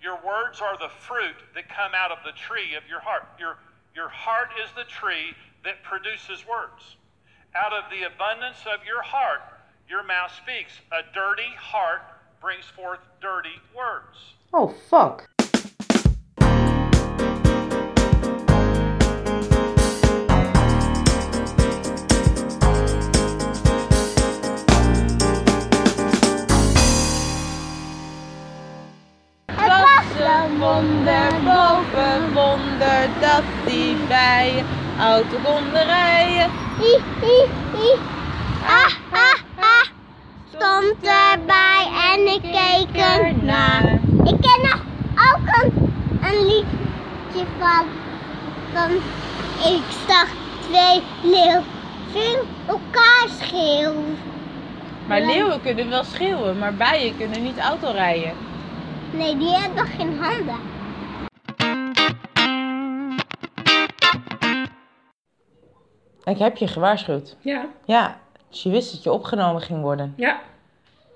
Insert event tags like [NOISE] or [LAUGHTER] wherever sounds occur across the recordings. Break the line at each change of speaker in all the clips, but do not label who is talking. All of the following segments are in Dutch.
your words are the fruit that come out of the tree of your heart. Your, your heart is the tree that produces words. Out of the abundance of your heart, your mouth speaks. A dirty heart brings forth dirty words.
Oh, fuck.
Het was een wonder boven wonder dat die bij auto konden rijden.
Hi, hi, hi. Ah, ah, ah. Stond erbij en ik keek ernaar. Ik ken nog ook een, een liedje van, van. Ik zag twee leeuwen elkaar schreeuwen.
Maar
Ja.
leeuwen kunnen wel schreeuwen, maar bijen kunnen niet auto rijden.
Nee, die hebben geen handen.
Ik heb je gewaarschuwd.
Ja,
Ja, dus je wist dat je opgenomen ging worden.
ja.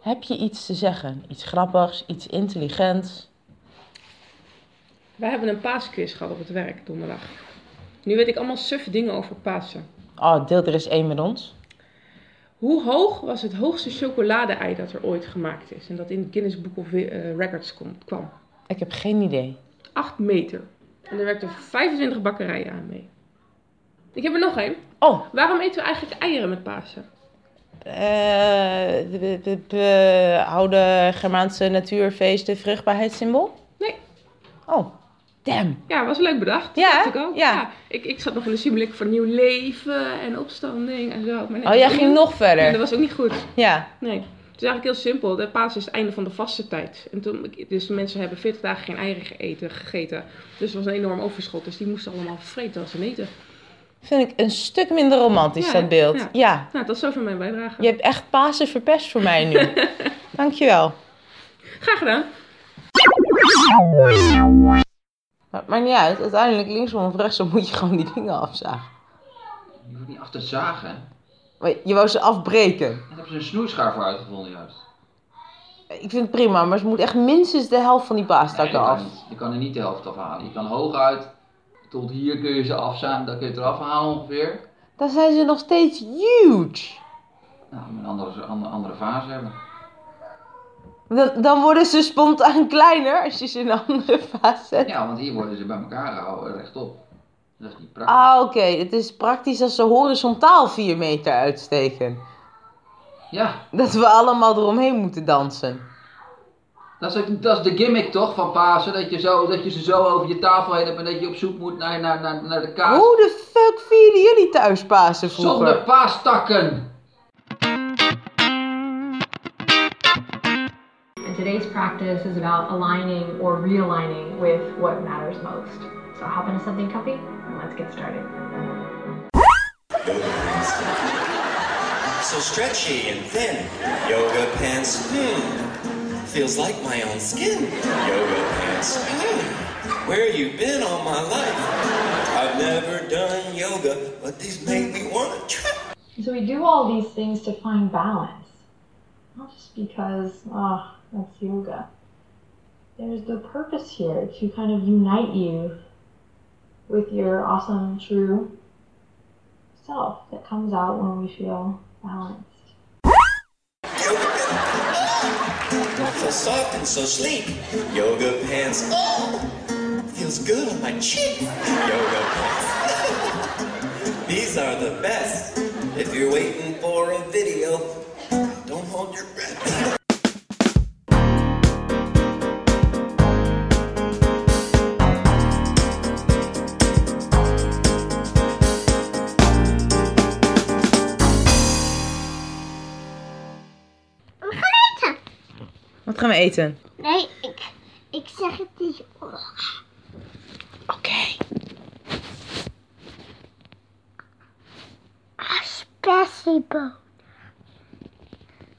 Heb je iets te zeggen? Iets grappigs, iets intelligents?
Wij hebben een paasquiz gehad op het werk donderdag. Nu weet ik allemaal suffe dingen over Pasen.
Oh, deel er eens één met ons.
Hoe hoog was het hoogste chocolade-ei dat er ooit gemaakt is? En dat in het Guinness Book of eh, Records komt- kwam.
Ik heb geen idee.
8 meter. En er werkten 25 bakkerijen aan mee. Ik heb er nog één.
Oh,
Waarom eten we eigenlijk eieren met Pasen?
eh, de- de- de oude Germaanse natuurfeesten vruchtbaarheidssymbool?
Nee.
Oh, damn.
Ja, was leuk bedacht.
Ja,
dacht ik ook.
ja.
ik, ik zat nog in de symboliek van nieuw leven en opstanding en zo. Maar nee,
Oh, jij ging nog
Ja, dat
verder.
was ook niet goed.
Ja.
Nee. Het is eigenlijk heel simpel. De Pasen is het einde van de vaste tijd. En toen, dus de mensen hebben 40 dagen geen eieren gegeten, gegeten. Dus er was een enorm overschot. Dus die moesten allemaal vreten als ze eten.
Vind ik een stuk minder romantisch,
Ja,
dat beeld.
ja.
ja.
Nou, dat is zover mijn bijdrage.
Je hebt echt Pasen verpest voor mij
[LAUGHS]
nu. Dankjewel.
Graag gedaan.
Maar het maakt niet uit, uiteindelijk linksom of rechtsom moet je gewoon die dingen afzagen.
Je moet niet achter zagen.
Maar je wou ze afbreken.
Daar hebben ze een snoeischaar voor uitgevonden juist.
Ik vind het prima, maar ze moet echt minstens de helft van die
Nee,
paastakken
je,
af.
kan niet, je kan er niet de helft afhalen. Je kan hooguit tot hier kun je ze afzagen, dan kun je het eraf halen ongeveer.
Dan zijn ze nog steeds huge.
Nou, een andere, andere, andere fase hebben.
Dan, dan worden ze spontaan [LAUGHS] kleiner als je ze in een andere vaas zet.
Ja, want hier worden ze bij elkaar gehouden, rechtop. Dat is niet praktisch.
Ah, oké. Het is praktisch als ze horizontaal 4 meter uitsteken.
Ja,
Dat we allemaal eromheen moeten dansen.
dat is, ook- dat is de gimmick toch van Pasen, dat je, zo, dat je ze zo over je tafel heen hebt en dat je op zoek moet naar, naar, naar, naar de kaas.
Hoe de fuck vierden jullie thuis Pasen vroeger?
Zonder paastakken!
And today's practice is about aligning or realigning with what matters most. So hop into something comfy and let's get started.
yoga pants. So stretchy and thin. Yoga pants. Hmm. Feels like my own skin. Yoga pants. Hmm. Where you been all my life? I've never done yoga, but these make me wanna try.
So we do all these things to find balance. Not just because, ah, that's yoga. There's the purpose here to kind of unite you with your awesome, true self that comes out when we feel balanced.
Yoga pants. So soft and so sleek. Yoga pants. Oh, feels good on my cheek. Yoga pants. [LAUGHS] These are the best. If you're waiting for a video, don't hold your breath.
We gaan eten.
Wat gaan we eten?
Nee, ik, ik zeg het niet. Oh,
Oké.
aspersieboom.